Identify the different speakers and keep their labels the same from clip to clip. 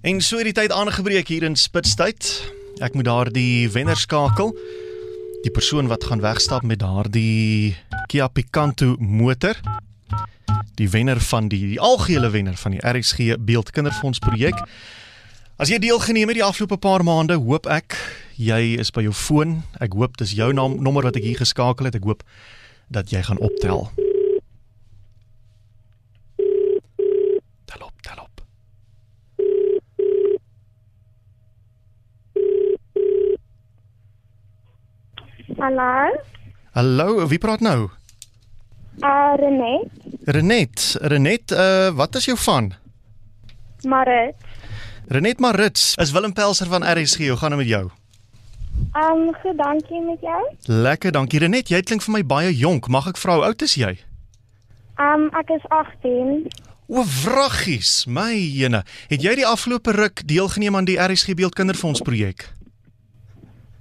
Speaker 1: En so het die tyd aangebreek hier in spitstyd. Ek moet daardie wenner skakel. Die persoon wat gaan wegstap met daardie Kia Picanto motor. Die wenner van die, die algehele wenner van die RSG Beeldkinderfonds projek. As jy deelgeneem het die afgelope paar maande, hoop ek jy is by jou foon. Ek hoop dis jou naam nommer wat ek hier geskakel het. Ek hoop dat jy gaan optel. Tel op, tel op.
Speaker 2: Hallo,
Speaker 1: Hallo, wie praat nou?
Speaker 2: uh, Renet,
Speaker 1: Renet, Renet, uh, wat is jou van?
Speaker 2: Marit.
Speaker 1: Renet Marits, is Willem Pelser van RSG. Hoe gaan dit met jou?
Speaker 2: Um, goed, dankie met jou.
Speaker 1: Lekker, dankie Renet. Jy klink vir my baie jonk. Mag ek vra hoe oud is jy?
Speaker 2: Um, ek is 18.
Speaker 1: O, wraggies, my jene. Het jy die afgelope ruk deelgeneem aan die RSG Beeldkinderfonds projek?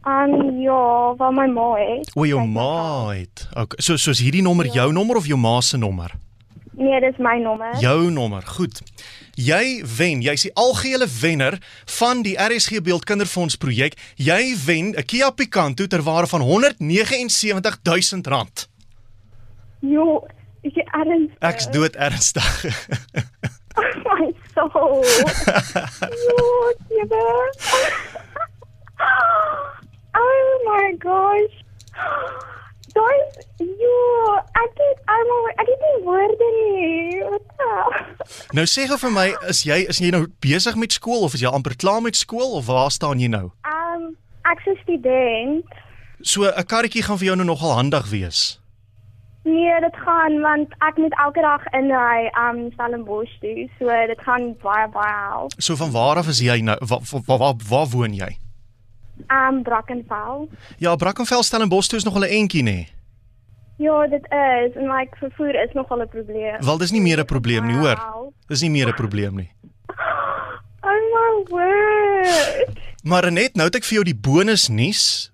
Speaker 2: Um, ja, wat my ma het.
Speaker 1: O, jou ma het. Okay, so soos hierdie nommer jou nommer of jou ma se nommer?
Speaker 2: Nee, dis my nommer.
Speaker 1: Jou nommer. Goed. Jy wen. Jy's die algehele wenner van die RSG Beeldkinderfonds projek. Jy wen 'n Kia Picanto ter waarde van R179000. rand.
Speaker 2: Jo, is jy ernstig?
Speaker 1: Ek's dood ernstig.
Speaker 2: Oh my soul. jo, jybe. oh my gosh. Daai, jo, ek het, almal, ek het nie woorde nie. Wat nou?
Speaker 1: nou sê gou vir my, is jy is jy nou besig met skool of is jy amper klaar met skool of waar staan jy nou?
Speaker 2: Um, ek's 'n student.
Speaker 1: So 'n karretjie gaan vir jou nou nogal handig wees.
Speaker 2: Nee, dit gaan want ek moet elke dag inry um Stellenbosch toe, so dit gaan baie baie help.
Speaker 1: So van waar af is jy nou? Waar waar waar, waar woon jy?
Speaker 2: Um Brackenfell.
Speaker 1: Ja, Brackenfell Stellenbosch toe is nog 'n eentjie nê. Nee.
Speaker 2: Ja, dit is en like vervoer is nogal 'n probleem.
Speaker 1: Wel dis nie meer 'n probleem nie, hoor.
Speaker 2: Wow.
Speaker 1: Dis nie meer 'n probleem nie.
Speaker 2: Oh my word.
Speaker 1: Maar net nou het ek vir jou die bonusnuus.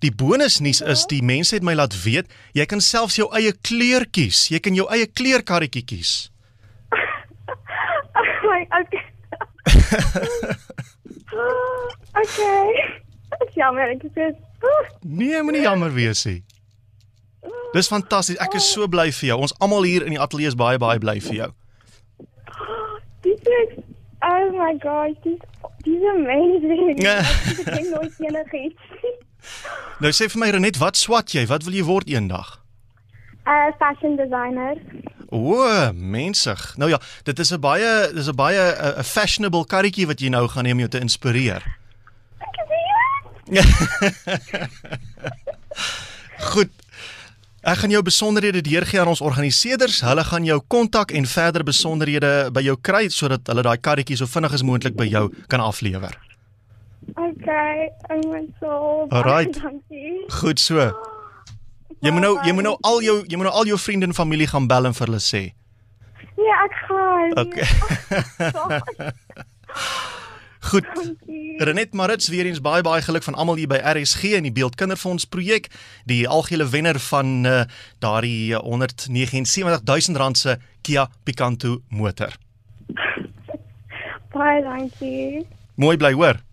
Speaker 1: Die bonusnuus is die mense het my laat weet, jy kan selfs jou eie kleur kies. Jy kan jou eie kleurkarretjie kies.
Speaker 2: Oh my okay. okay. Ek jammer, ek dus- sê
Speaker 1: Nee, moenie jammer wees nie. Dis fantasties. Ek is so bly vir jou. Ons almal hier in die ateljee is baie baie bly vir jou.
Speaker 2: Dit is Oh my gosh, dis dis amazing.
Speaker 1: Ja.
Speaker 2: Ek ken nooit enigiets.
Speaker 1: Nou sê vir my Renet, wat swat jy? Wat wil jy word eendag?
Speaker 2: Uh fashion designer.
Speaker 1: O, mensig. Nou ja, dit is 'n baie dis 'n baie eh, 'n 'n fashionable karretjie wat jy nou gaan hê om jou te inspireer.
Speaker 2: Ek is hier.
Speaker 1: Goed. Ek gaan jou besonderhede deurgee aan ons organiseerders. Hulle gaan jou kontak en verder besonderhede by jou kry sodat hulle daai karretjie so vinnig as moontlik by jou kan aflewer.
Speaker 2: Okay, I'm in so.
Speaker 1: Alright.
Speaker 2: Dankie.
Speaker 1: Goed so. Jy moet nou jy moet nou al jou jy moet nou al jou vriende en familie gaan bel en vir hulle sê.
Speaker 2: Nee, ek gaan.
Speaker 1: Okay.
Speaker 2: Dankie.
Speaker 1: Goed. Renet Marits weer eens baie baie geluk van almal hier by RSG en die Beeldkinderfonds projek, die algehele wenner van uh, daardie eh, 179000 rand se Kia Picanto motor.
Speaker 2: Baie dankie.
Speaker 1: Mooi bly hoor.